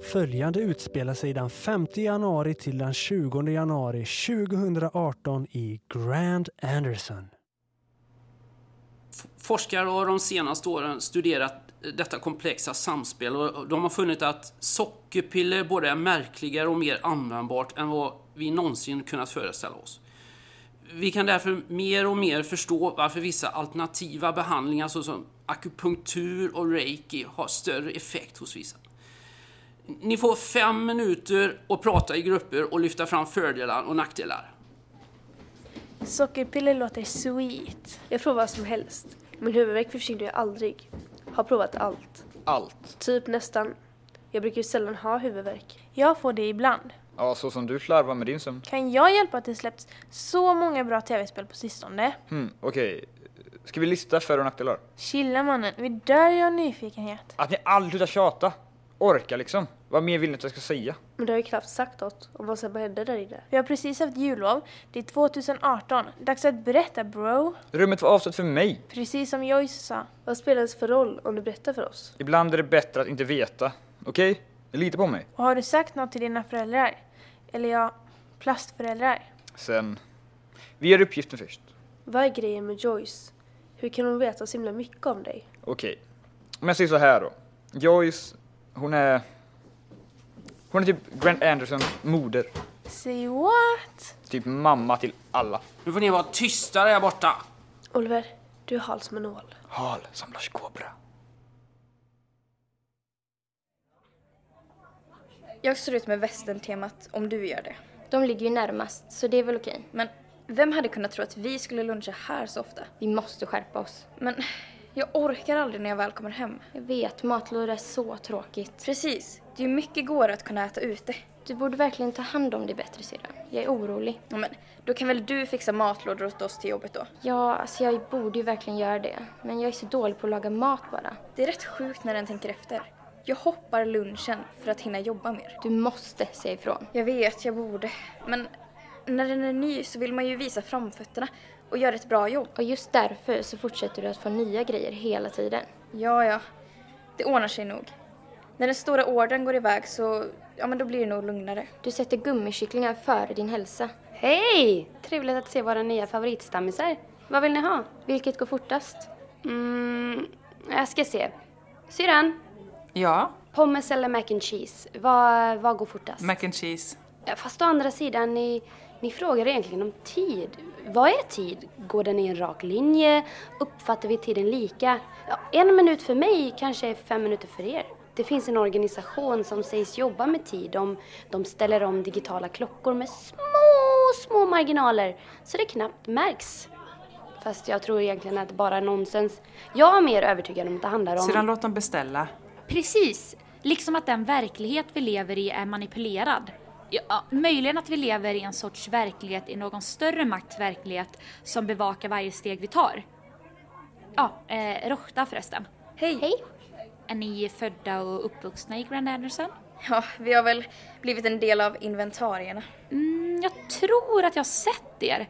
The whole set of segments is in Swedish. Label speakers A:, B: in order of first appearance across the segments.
A: följande utspelar sig den 5 januari till den 20 januari 2018 i Grand Anderson.
B: Forskare har de senaste åren studerat detta komplexa samspel och de har funnit att sockerpiller både är märkligare och mer användbart än vad vi någonsin kunnat föreställa oss. Vi kan därför mer och mer förstå varför vissa alternativa behandlingar såsom akupunktur och reiki har större effekt hos vissa. Ni får fem minuter att prata i grupper och lyfta fram fördelar och nackdelar.
C: Sockerpiller låter sweet.
D: Jag provar vad som helst. Min huvudvärk försvinner ju aldrig. Har provat allt.
E: Allt.
D: Typ nästan. Jag brukar ju sällan ha huvudvärk.
C: Jag får det ibland.
E: Ja, så som du slarvar med din sömn.
C: Kan jag hjälpa att det släppts så många bra tv-spel på sistone?
E: Hmm, okej. Ska vi lista för och nackdelar?
C: Chilla mannen, vi dör ju av nyfikenhet.
E: Att ni aldrig slutar tjata! Orka liksom. Vad mer vill ni att jag ska säga?
D: Men det har ju knappt sagt något om vad som hände där inne.
C: Vi har precis haft jullov. Det är 2018. Dags att berätta bro.
E: Rummet var avsett för mig.
C: Precis som Joyce sa.
D: Vad spelar det ens för roll om du berättar för oss?
E: Ibland är det bättre att inte veta. Okej? Lita på mig.
C: Och har du sagt något till dina föräldrar? Eller ja, plastföräldrar?
E: Sen... Vi gör uppgiften först.
D: Vad är grejen med Joyce? Hur kan hon veta så himla mycket om dig?
E: Okej. Om jag säger så här då. Joyce, hon är... Hon är typ Grant Andersons moder.
C: Say what?
E: Typ mamma till alla.
B: Nu får ni vara tysta där borta.
D: Oliver, du är hal som en ål.
E: Hal som Lars Kobra.
F: Jag står ut med västern-temat om du gör det.
G: De ligger ju närmast, så det är väl okej.
F: Men vem hade kunnat tro att vi skulle luncha här så ofta?
G: Vi måste skärpa oss.
F: Men jag orkar aldrig när jag väl kommer hem.
G: Jag vet, matlådor är så tråkigt.
F: Precis, det är ju mycket godare att kunna äta ute.
G: Du borde verkligen ta hand om dig bättre syrran. Jag är orolig.
F: Ja, men då kan väl du fixa matlådor åt oss till jobbet då?
G: Ja, alltså jag borde ju verkligen göra det. Men jag är så dålig på att laga mat bara.
F: Det är rätt sjukt när den tänker efter. Jag hoppar lunchen för att hinna jobba mer.
G: Du måste säga ifrån.
F: Jag vet, jag borde. Men när den är ny så vill man ju visa framfötterna och göra ett bra jobb.
G: Och just därför så fortsätter du att få nya grejer hela tiden.
F: Ja, ja. Det ordnar sig nog. När den stora ordern går iväg så, ja men då blir det nog lugnare.
G: Du sätter gummikycklingar före din hälsa.
H: Hej! Trevligt att se våra nya favoritstammisar. Vad vill ni ha?
G: Vilket går fortast?
H: Mm, jag ska se. Syrran,
I: Ja,
F: Alltså.
H: pommes eller mac and cheese? Vad, vad går fortast?
I: mac and cheese.
H: Ja, Fast å andra sidan, ni, ni frågar egentligen om tid. Vad är tid? Går den i en rak linje? Uppfattar vi tiden lika? Ja, en minut för mig kanske är fem minuter för er. Det finns en organisation som sägs jobba med tid. De, de ställer om digitala klockor med små, små marginaler så det knappt märks. Fast jag tror egentligen att det bara är nonsens. Jag är mer övertygad om att det handlar om...
I: Sedan låt dem beställa.
J: Precis, liksom att den verklighet vi lever i är manipulerad. Ja, möjligen att vi lever i en sorts verklighet i någon större makts verklighet som bevakar varje steg vi tar. Ja, eh, Rochta förresten.
F: Hej!
G: Hej!
J: Är ni födda och uppvuxna i Grand Anderson?
F: Ja, vi har väl blivit en del av inventarierna.
J: Mm, jag tror att jag har sett er.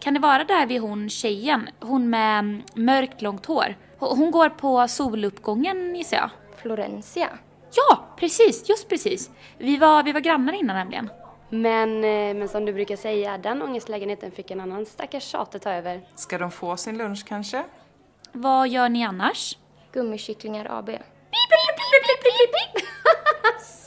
J: Kan det vara där vid hon tjejen? Hon med mm, mörkt långt hår. Ho- Hon går på soluppgången gissar jag.
G: Florencia.
J: Ja, precis, just precis. Vi var, vi var grannar innan nämligen.
H: Men, eh, men som du brukar säga, den ångestlägenheten fick en annan stackars tjate ta över.
I: Ska de få sin lunch kanske?
J: Vad gör ni annars?
G: Gummikycklingar AB.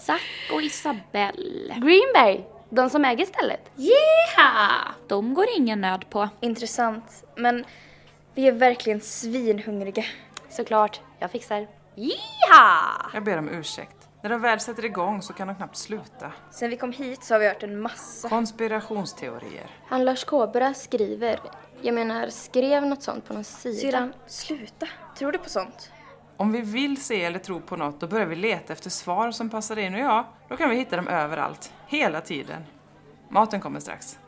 J: Zack och Isabelle.
H: Greenberg, de som äger stället.
J: Yeah! De går ingen nöd på.
F: Intressant, men vi är verkligen svinhungriga.
H: Såklart, jag fixar.
J: Jiha!
I: Jag ber om ursäkt. När de väl sätter igång så kan de knappt sluta.
F: Sen vi kom hit så har vi hört en massa.
I: Konspirationsteorier.
G: Han Lars Kobra skriver, jag menar skrev något sånt på någon sida.
F: Syrran, sluta. Tror du på sånt?
I: Om vi vill se eller tro på något då börjar vi leta efter svar som passar in och ja, då kan vi hitta dem överallt. Hela tiden. Maten kommer strax.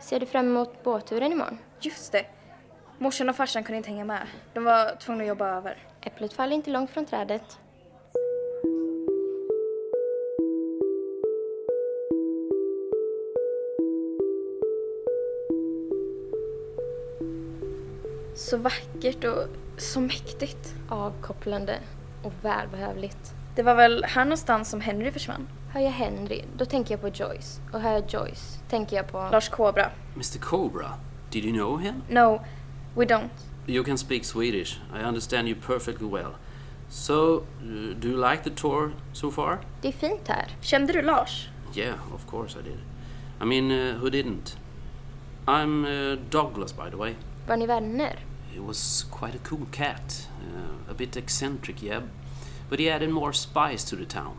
G: Ser du fram emot båtturen imorgon?
F: Just det. Morsan och farsan kunde inte hänga med. De var tvungna att jobba över.
G: Äpplet faller inte långt från trädet.
F: Så vackert och så mäktigt.
G: Avkopplande och välbehövligt.
F: Det var väl här någonstans som Henry försvann?
G: Hör jag Henry, då tänker jag på Joyce. Och hör jag Joyce, tänker jag på...
F: Lars Kobra.
B: Mr Cobra, did you know him?
F: No, we don't.
B: You can speak Swedish. I understand you perfectly well. So, uh, do you like the tour so far?
G: Det är fint här.
F: Kände du Lars?
B: Yeah, of course I did. I mean, uh, who didn't? I'm uh, Douglas, by the way.
G: Var ni vänner?
B: He was quite a cool cat, uh, a bit eccentric, yeah, but he added more spice to the town.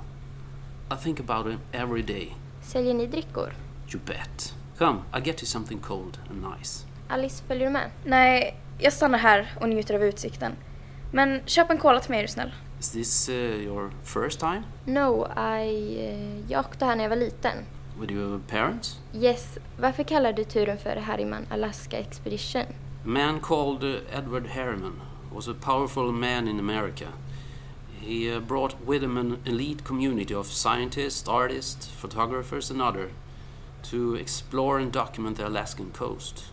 B: I think about him every day.
G: Säljer ni drickor?
B: You bet. Come, I'll get you something cold and nice.
G: Alice, följer du med?
F: Nej, jag stannar här och njuter av utsikten. Men köp en cola till mig är du snäll.
B: Is this uh, your first time
G: No, I... eh, Jag åkte här när jag var liten.
B: with your parents?
G: Yes, varför kallar du turen för Harriman Alaska Expedition?
B: A man called uh, Edward Harriman was a powerful man in America. He uh, brought with him an elite community of scientists, artists, photographers, and other to explore and document the Alaskan coast.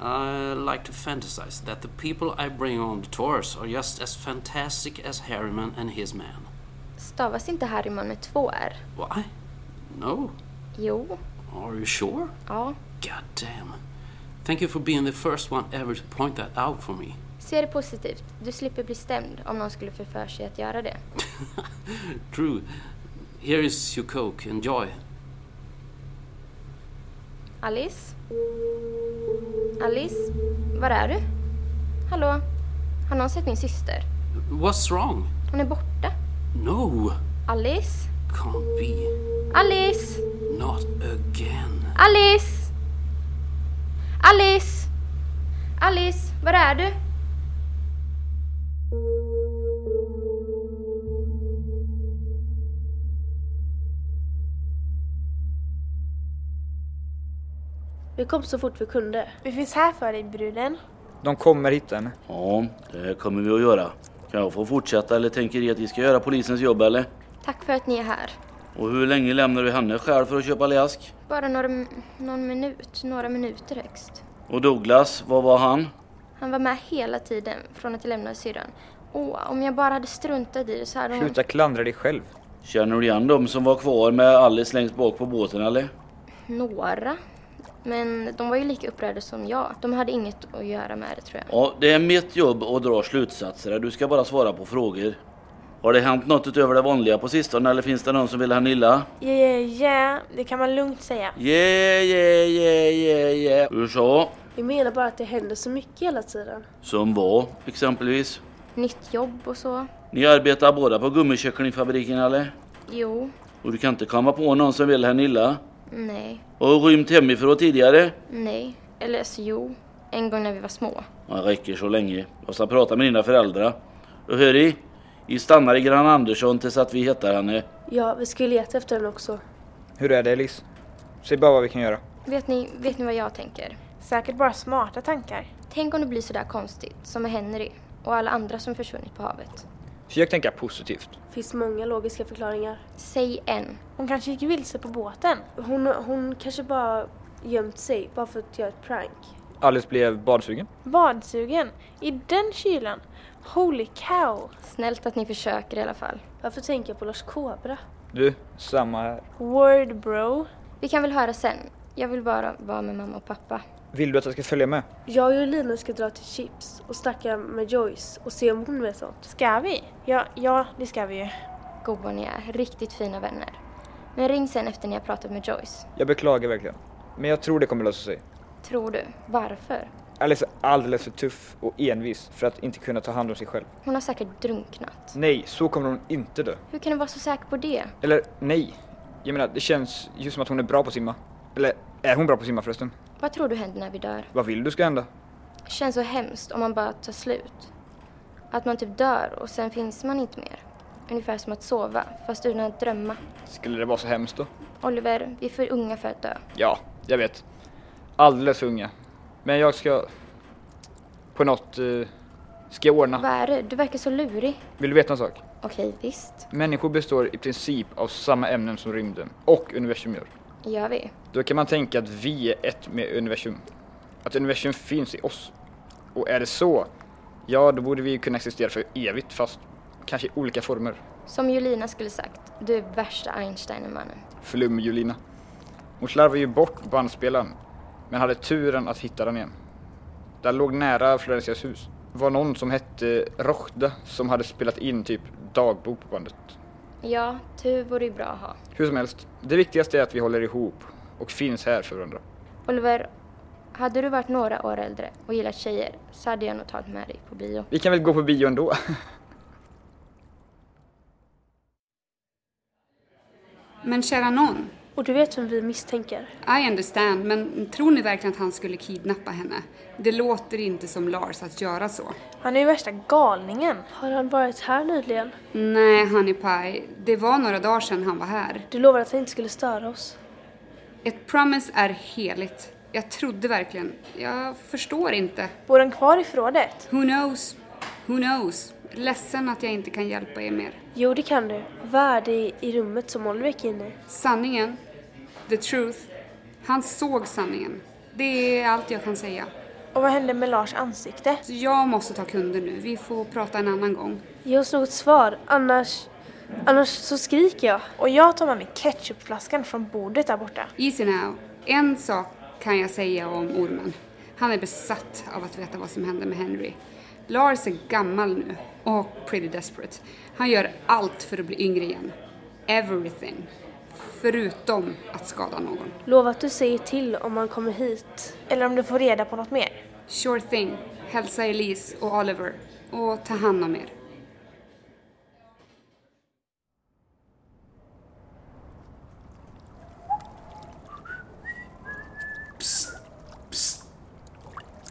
B: I like to fantasize that the people I bring on the tours are just as fantastic as Harriman and his man.
G: Stavas inte Harriman med två R?
B: Why? No.
G: Jo,
B: Are you sure?
G: ja.
B: God damn. Thank you for being the first one ever to point that out for me.
G: Se det positivt. Du slipper bli stämd om någon skulle få för sig att göra det.
B: True. Here is your coke. Enjoy.
G: Alice? Alice? Var är du? Hallå? Har någon sett min syster?
B: What's wrong?
G: Hon är borta.
B: No,
G: Alice?
B: can't be.
G: Alice?
B: Not again.
G: Alice? Alice? Alice, var är du?
D: Vi kom så fort vi kunde.
C: Vi finns här för dig bruden.
E: De kommer hitta henne.
K: Ja, det kommer vi att göra. Kan jag få fortsätta eller tänker ni att ni ska göra polisens jobb eller?
G: Tack för att ni är här.
K: Och hur länge lämnar du henne själv för att köpa läsk?
G: Bara några, m- någon minut, några minuter högst.
K: Och Douglas, vad var han?
G: Han var med hela tiden från att jag lämnade syrran. Åh, om jag bara hade struntat i det så hade hon...
K: Sluta klandra dig själv. Känner du igen dem som var kvar med Alice längst bak på båten eller?
G: Några. Men de var ju lika upprörda som jag. De hade inget att göra med det tror jag.
K: Ja, det är mitt jobb att dra slutsatser. Du ska bara svara på frågor. Har det hänt något utöver det vanliga på sistone eller finns det någon som vill henne illa?
C: Ja, ja, ja. Det kan man lugnt säga.
K: Yeah, yeah, yeah, yeah, yeah. Hur så?
D: Vi menar bara att det händer så mycket hela tiden.
K: Som var, exempelvis.
G: Nytt jobb och så.
K: Ni arbetar båda på gummikycklingfabriken eller?
G: Jo.
K: Och du kan inte komma på någon som vill henne illa?
G: Nej.
K: Och rymt hemifrån tidigare?
G: Nej. Eller alltså jo. En gång när vi var små.
K: Ja, Det räcker så länge. Jag ska prata med dina föräldrar. Och hörri, vi stannar i Gran Andersson tills att vi hittar henne.
D: Ja, vi ska ju leta efter henne också.
E: Hur är det Elise? Säg bara vad vi kan göra.
G: Vet ni, vet ni vad jag tänker?
C: Säkert bara smarta tankar.
G: Tänk om det blir sådär konstigt som med Henry och alla andra som försvunnit på havet.
E: Försök tänka positivt.
D: Finns många logiska förklaringar.
G: Säg en.
C: Hon kanske gick vilse på båten.
D: Hon, hon kanske bara gömt sig bara för att göra ett prank.
E: Alice blev badsugen.
C: Badsugen. I den kylan. Holy cow.
G: Snällt att ni försöker i alla fall.
D: Varför tänker jag på Lars Kobra?
E: Du, samma här.
C: Word bro.
G: Vi kan väl höra sen. Jag vill bara vara med mamma och pappa.
E: Vill du att jag ska följa med?
D: Jag och Linus ska dra till Chips och snacka med Joyce och se om hon vet något.
C: Ska vi? Ja, ja, det ska vi ju.
G: Goda ni är. Riktigt fina vänner. Men ring sen efter ni har pratat med Joyce.
E: Jag beklagar verkligen. Men jag tror det kommer lösa sig.
G: Tror du? Varför?
E: Alice är alldeles för tuff och envis för att inte kunna ta hand om sig själv.
G: Hon har säkert drunknat.
E: Nej, så kommer hon inte dö.
G: Hur kan du vara så säker på det?
E: Eller nej. Jag menar, det känns ju som att hon är bra på att simma. Eller är hon bra på att simma förresten?
G: Vad tror du händer när vi dör?
E: Vad vill du ska hända?
G: Känns så hemskt om man bara tar slut. Att man typ dör och sen finns man inte mer. Ungefär som att sova, fast utan att drömma.
E: Skulle det vara så hemskt då?
G: Oliver, vi är för unga för att dö.
E: Ja, jag vet. Alldeles för unga. Men jag ska... På något... Eh, ska jag
G: Vad
E: ordna.
G: är det? Du verkar så lurig.
E: Vill du veta en sak?
G: Okej, visst.
E: Människor består i princip av samma ämnen som rymden och universum gör.
G: Gör vi.
E: Då kan man tänka att vi är ett med universum. Att universum finns i oss. Och är det så, ja då borde vi ju kunna existera för evigt fast kanske i olika former.
G: Som Julina skulle sagt, du är värsta Einstein-mannen.
E: Flum-Julina. Hon slarvade ju bort bandspelaren, men hade turen att hitta den igen. Den låg nära Florencias hus. Det var någon som hette Rochda som hade spelat in typ dagbok på bandet.
G: Ja, tur vore ju bra att ha.
E: Hur som helst, det viktigaste är att vi håller ihop och finns här för varandra.
G: Oliver, hade du varit några år äldre och gillat tjejer så hade jag nog tagit med dig på bio.
E: Vi kan väl gå på bio ändå?
L: Men kära någon. Och du vet vem vi misstänker? I understand, men tror ni verkligen att han skulle kidnappa henne? Det låter inte som Lars att göra så.
C: Han är ju värsta galningen.
L: Har han varit här nyligen? Nej, honey pie. Det var några dagar sedan han var här.
D: Du lovade att han inte skulle störa oss.
L: Ett promise är heligt. Jag trodde verkligen. Jag förstår inte.
C: Bor han kvar i förrådet?
L: Who knows? Who knows? Ledsen att jag inte kan hjälpa er mer.
D: Jo, det kan du. Vad är det i rummet som Oliver gick in i?
L: Sanningen. The truth. Han såg sanningen. Det är allt jag kan säga.
C: Och vad hände med Lars ansikte?
L: Jag måste ta kunder nu. Vi får prata en annan gång.
D: Ge oss något svar, annars... Annars så skriker jag.
C: Och jag tar med mig ketchupflaskan från bordet där borta.
L: Easy now. En sak kan jag säga om ormen. Han är besatt av att veta vad som hände med Henry. Lars är gammal nu och pretty desperate. Han gör allt för att bli yngre igen. Everything. Förutom att skada någon.
D: Lova att du säger till om han kommer hit.
C: Eller om du får reda på något mer.
L: Sure thing. Hälsa Elise och Oliver. Och ta hand om er.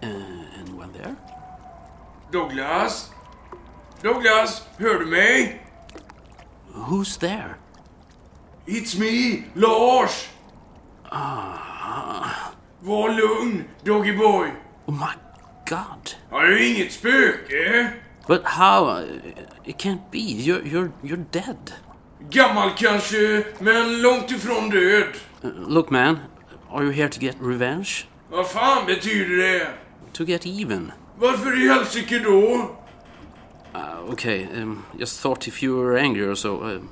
B: Uh, anyone there?
M: Douglas? Douglas, hör du mig?
B: Who's there?
M: It's me, Lars!
B: Ah,
M: Var lugn, Doggy boy.
B: oh my god.
M: Jag är ju inget spöke.
B: But how? Uh, It can't be. You're, you're, you're dead.
M: Gammal kanske, men långt ifrån död.
B: Uh, look, man. Are you here to get revenge?
M: Vad fan betyder det?
B: To get even?
M: Varför i helsike då?
B: Uh, okay, um, just thought if you were angry or so. Um,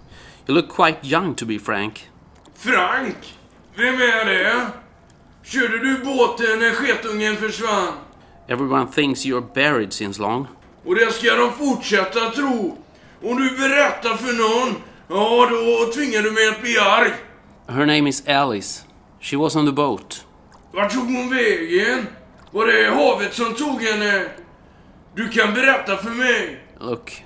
B: you look quite young, to be frank.
M: Frank? Vem är det? Körde du båten när sketungen försvann?
B: Everyone thinks you're buried since long.
M: Och det ska de fortsätta tro. Om du berättar för någon, ja då tvingar du mig att bli arg.
B: Her name is Alice. She was on the boat.
M: Vart tog hon vägen? Var det havet som tog henne? Du kan berätta för mig.
B: Look,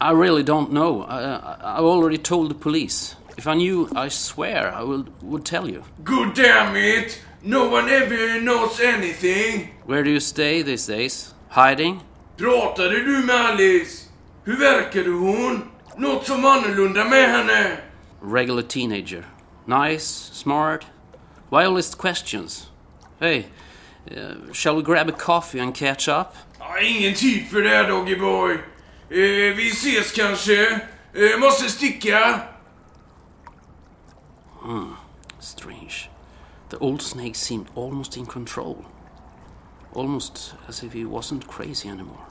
B: I really don't know. I, I, I already told the police. If I knew, I swear I will, would tell you.
M: God damn it! No one ever knows anything.
B: Where do you stay these days? Hiding?
M: Pratade du med Alice? Hur verkade hon? Något som var annorlunda med henne?
B: Regular teenager. Nice, smart. Wildest questions. Hey, uh, shall we grab a coffee and catch up?
M: Ja, ingen tid för det här, Doggy boy. Eh, vi ses kanske. Eh, måste sticka.
B: Hmm, strange. The old snake seemed almost in control. Almost as if he wasn't crazy anymore.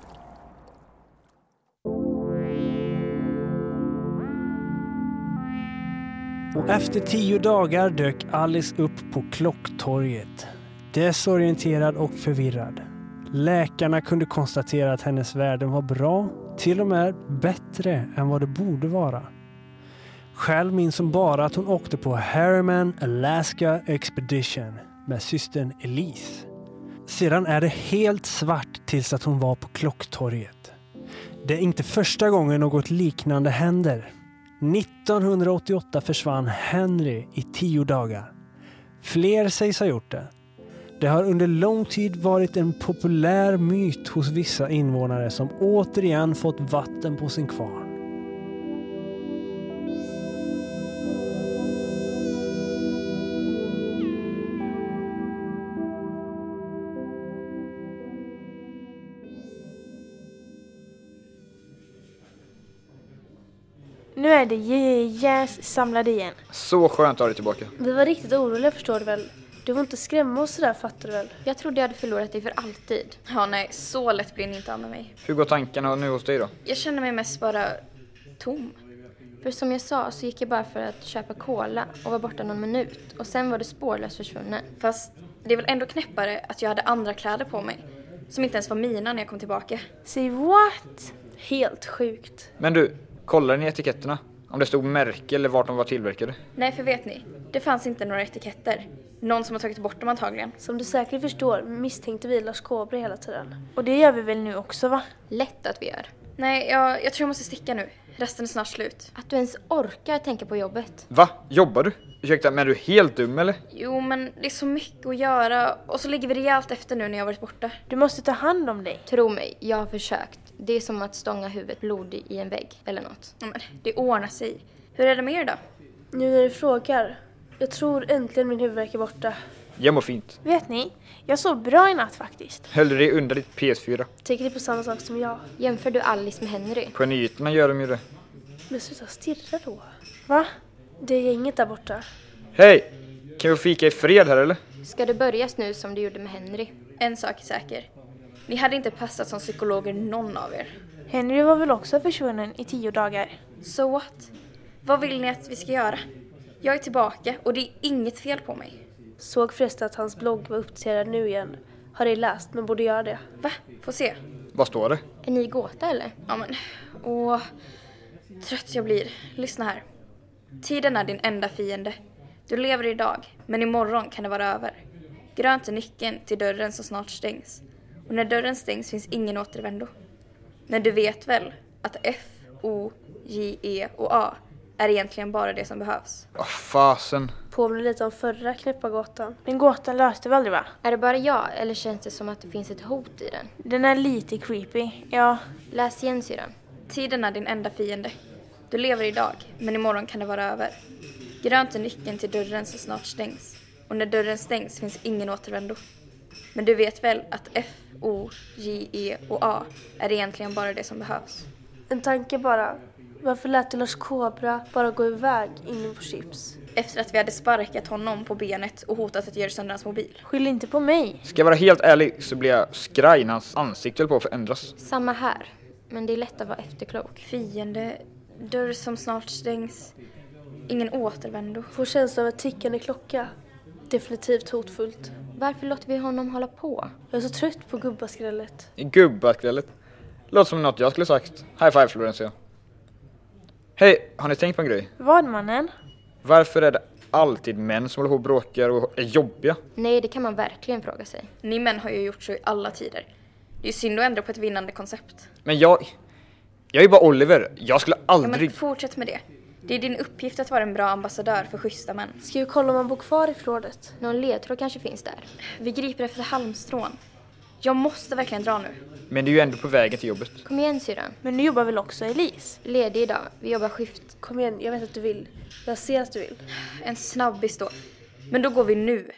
A: Och efter tio dagar dök Alice upp på Klocktorget. Desorienterad och förvirrad. Läkarna kunde konstatera att hennes värden var bra, till och med bättre än vad det borde vara. Själv minns hon bara att hon åkte på Harriman Alaska Expedition med systern Elise. Sedan är det helt svart tills att hon var på Klocktorget. Det är inte första gången något liknande händer. 1988 försvann Henry i tio dagar. Fler sägs ha gjort det. Det har under lång tid varit en populär myt hos vissa invånare som återigen fått vatten på sin kvarn.
C: Nu är det JJS samlade igen.
E: Så skönt att ha dig tillbaka.
D: Vi var riktigt oroliga förstår du väl? Du får inte skrämma oss sådär fattar du väl?
G: Jag trodde jag hade förlorat dig för alltid.
F: Ja, nej, så lätt blir ni inte av med mig.
E: Hur går tankarna nu hos dig då?
F: Jag känner mig mest bara tom.
N: För som jag sa så gick jag bara för att köpa cola och var borta någon minut och sen var du spårlöst försvunnen.
G: Fast det är väl ändå knäppare att jag hade andra kläder på mig. Som inte ens var mina när jag kom tillbaka.
C: Say what?
G: Helt sjukt.
E: Men du, kollade ni etiketterna? Om det stod märke eller vart de var tillverkade?
G: Nej, för vet ni? Det fanns inte några etiketter. Någon som har tagit bort dem antagligen.
C: Som du säkert förstår misstänkte vi Lars Kåbre hela tiden. Och det gör vi väl nu också va?
N: Lätt att vi gör.
G: Nej, jag, jag tror jag måste sticka nu. Resten är snart slut.
N: Att du ens orkar tänka på jobbet.
E: Va? Jobbar du? Ursäkta, men är du helt dum eller?
G: Jo, men det är så mycket att göra och så ligger vi rejält efter nu när jag har varit borta.
C: Du måste ta hand om dig.
N: Tro mig, jag har försökt. Det är som att stånga huvudet blodig i en vägg eller något.
G: Ja, men det ordnar sig. Hur är det med er då?
C: Nu när du frågar. Jag tror äntligen min huvudvärk är borta.
E: Jag mår fint.
C: Vet ni? Jag sov bra i natt faktiskt.
E: Höll du dig under ditt PS4?
C: Tänker ni på samma sak som jag?
N: Jämför du Alice med Henry?
E: På nyheterna gör de ju det.
C: Men sluta stirra då. Va? Det är gänget där borta.
E: Hej! Kan vi fika i fred här eller?
N: Ska du börja nu som du gjorde med Henry?
G: En sak är säker. Ni hade inte passat som psykologer någon av er.
C: Henry var väl också försvunnen i tio dagar?
G: So what? Vad vill ni att vi ska göra? Jag är tillbaka och det är inget fel på mig.
C: Såg förresten att hans blogg var uppdaterad nu igen. Har ej läst, men borde göra det.
G: Va? Få se.
E: Vad står det?
N: Är ni gåta eller?
G: Ja men, åh. Trött jag blir. Lyssna här. Tiden är din enda fiende. Du lever idag, men imorgon kan det vara över. Grönt är nyckeln till dörren som snart stängs. Och när dörren stängs finns ingen återvändo. Men du vet väl att F, O, J, E och A är egentligen bara det som behövs?
E: Åh fasen.
C: Påminner lite om förra knäppa gåtan. Men gåtan löste vi aldrig va?
N: Är det bara jag eller känns det som att det finns ett hot i den?
C: Den är lite creepy, ja.
N: Läs igen syrran.
G: Tiden är din enda fiende. Du lever idag, men imorgon kan det vara över. Grönt är nyckeln till dörren som snart stängs. Och när dörren stängs finns ingen återvändo. Men du vet väl att F, O, J, E och A är egentligen bara det som behövs?
C: En tanke bara. Varför lät du Lars Kobra bara gå iväg in på chips?
G: Efter att vi hade sparkat honom på benet och hotat att göra sönder hans mobil.
C: Skyll inte på mig.
E: Ska jag vara helt ärlig så blir jag skraj när hans ansikte höll på att förändras.
N: Samma här. Men det är lätt att vara efterklok.
G: Fiende, dörr som snart stängs, ingen återvändo.
C: Får känslan av en tickande klocka. Definitivt hotfullt.
N: Varför låter vi honom hålla på?
C: Jag är så trött på gubbaskrället.
E: Gubbakrället. Låter som något jag skulle sagt. High five Florencia. Hej, har ni tänkt på en grej?
C: Vad mannen?
E: Varför är det alltid män som håller på och bråkar och är jobbiga?
N: Nej, det kan man verkligen fråga sig.
G: Ni män har ju gjort så i alla tider. Det är ju synd att ändra på ett vinnande koncept.
E: Men jag... Jag är ju bara Oliver. Jag skulle
G: Ja, men
E: aldrig...
G: fortsätt med det. Det är din uppgift att vara en bra ambassadör för schyssta män.
C: Ska vi kolla om han bor kvar i förrådet?
N: Någon ledtråd kanske finns där.
G: Vi griper efter halmstrån. Jag måste verkligen dra nu.
E: Men det är ju ändå på vägen till jobbet.
N: Kom igen syrran.
C: Men nu jobbar väl också Elise?
N: Ledig idag. Vi jobbar skift.
C: Kom igen, jag vet att du vill. Jag ser att du vill.
G: En snabbis då. Men då går vi nu.